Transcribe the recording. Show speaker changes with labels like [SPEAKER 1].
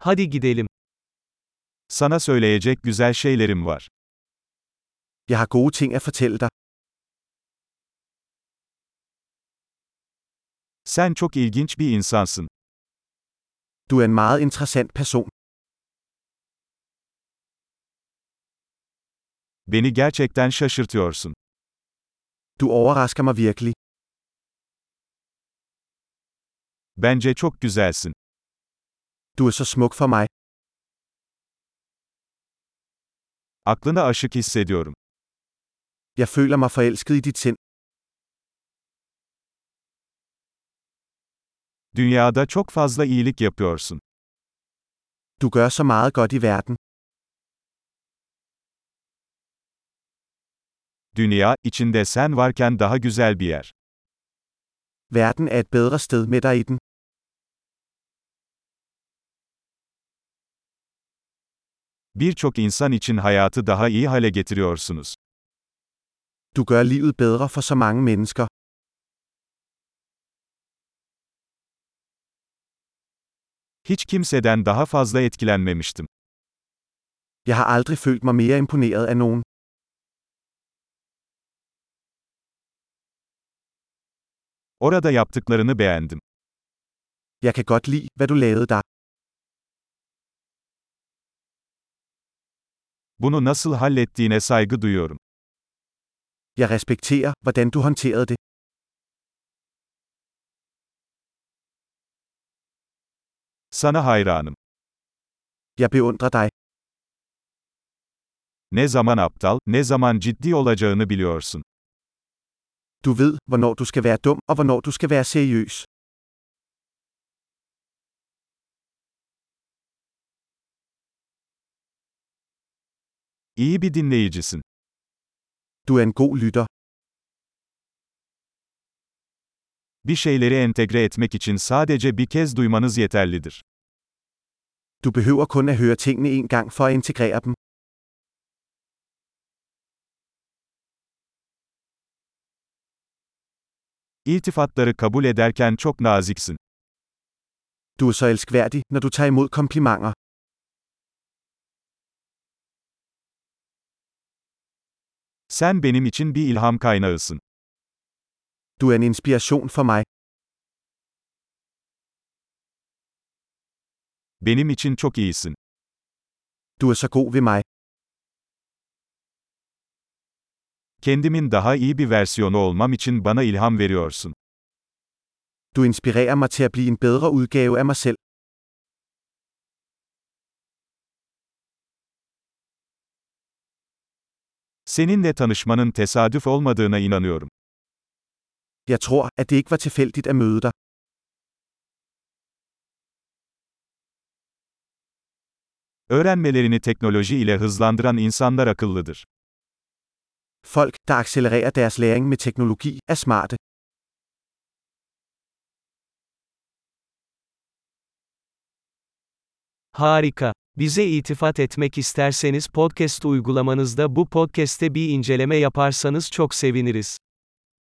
[SPEAKER 1] Hadi gidelim.
[SPEAKER 2] Sana söyleyecek güzel şeylerim var.
[SPEAKER 3] Jeg har gode ting at fortælle dig.
[SPEAKER 2] Sen çok ilginç bir insansın.
[SPEAKER 3] Du er en meget interessant person.
[SPEAKER 2] Beni gerçekten şaşırtıyorsun.
[SPEAKER 3] Du overrasker mig virkelig.
[SPEAKER 2] Bence çok güzelsin.
[SPEAKER 3] Du er så smuk for mig.
[SPEAKER 2] Aklına aşık hissediyorum.
[SPEAKER 3] Jeg føler mig forelsket i dit sind.
[SPEAKER 2] Dünyada çok fazla iyilik yapıyorsun.
[SPEAKER 3] Du gør så meget godt i verden.
[SPEAKER 2] Dünya, içinde sen varken daha güzel bir yer.
[SPEAKER 3] Verden er et bedre sted med dig i den.
[SPEAKER 2] Birçok insan için hayatı daha iyi hale getiriyorsunuz.
[SPEAKER 3] Du gør livet bedre for så mange mennesker.
[SPEAKER 2] Hiç kimseden daha fazla etkilenmemiştim.
[SPEAKER 3] Jeg har aldrig følt mig mere imponeret af nogen.
[SPEAKER 2] Orada yaptıklarını beğendim.
[SPEAKER 3] Jeg kan godt lide, hvad du lavede der.
[SPEAKER 2] Bunu nasıl hallettiğine saygı duyuyorum.
[SPEAKER 3] Jeg respekterer, hvordan du håndterede det.
[SPEAKER 2] Sana hayranım.
[SPEAKER 3] Jeg beundrer dig.
[SPEAKER 2] Ne zaman aptal, ne zaman ciddi olacağını biliyorsun.
[SPEAKER 3] Du ved, hvornår du skal være dum og hvornår du skal være seriøs.
[SPEAKER 2] İyi bir dinleyicisin.
[SPEAKER 3] Du er en god lytter.
[SPEAKER 2] Bir şeyleri entegre etmek için sadece bir kez duymanız yeterlidir.
[SPEAKER 3] Du behøver kun at høre tingene en gang for at integrere dem.
[SPEAKER 2] İltifatları kabul ederken çok naziksin.
[SPEAKER 3] Du er så elskværdig, når du tager imod komplimenter.
[SPEAKER 2] Sen benim için bir ilham kaynağısın.
[SPEAKER 3] Du er en inspiration for mig.
[SPEAKER 2] Benim için çok iyisin.
[SPEAKER 3] Du er så god ved mig.
[SPEAKER 2] Kendimin daha iyi bir versiyonu olmam için bana ilham veriyorsun.
[SPEAKER 3] Du inspirerer mig til at blive en bedre udgave af mig selv.
[SPEAKER 2] Seninle tanışmanın tesadüf olmadığına inanıyorum.
[SPEAKER 3] Jeg tror, at det ikke var tilfældigt at møde dig.
[SPEAKER 2] Öğrenmelerini teknoloji ile hızlandıran insanlar akıllıdır.
[SPEAKER 3] Folk, der accelererer deres læring med teknologi, er smarte.
[SPEAKER 1] Harika. Bize iltifat etmek isterseniz podcast uygulamanızda bu podcast'te bir inceleme yaparsanız çok seviniriz.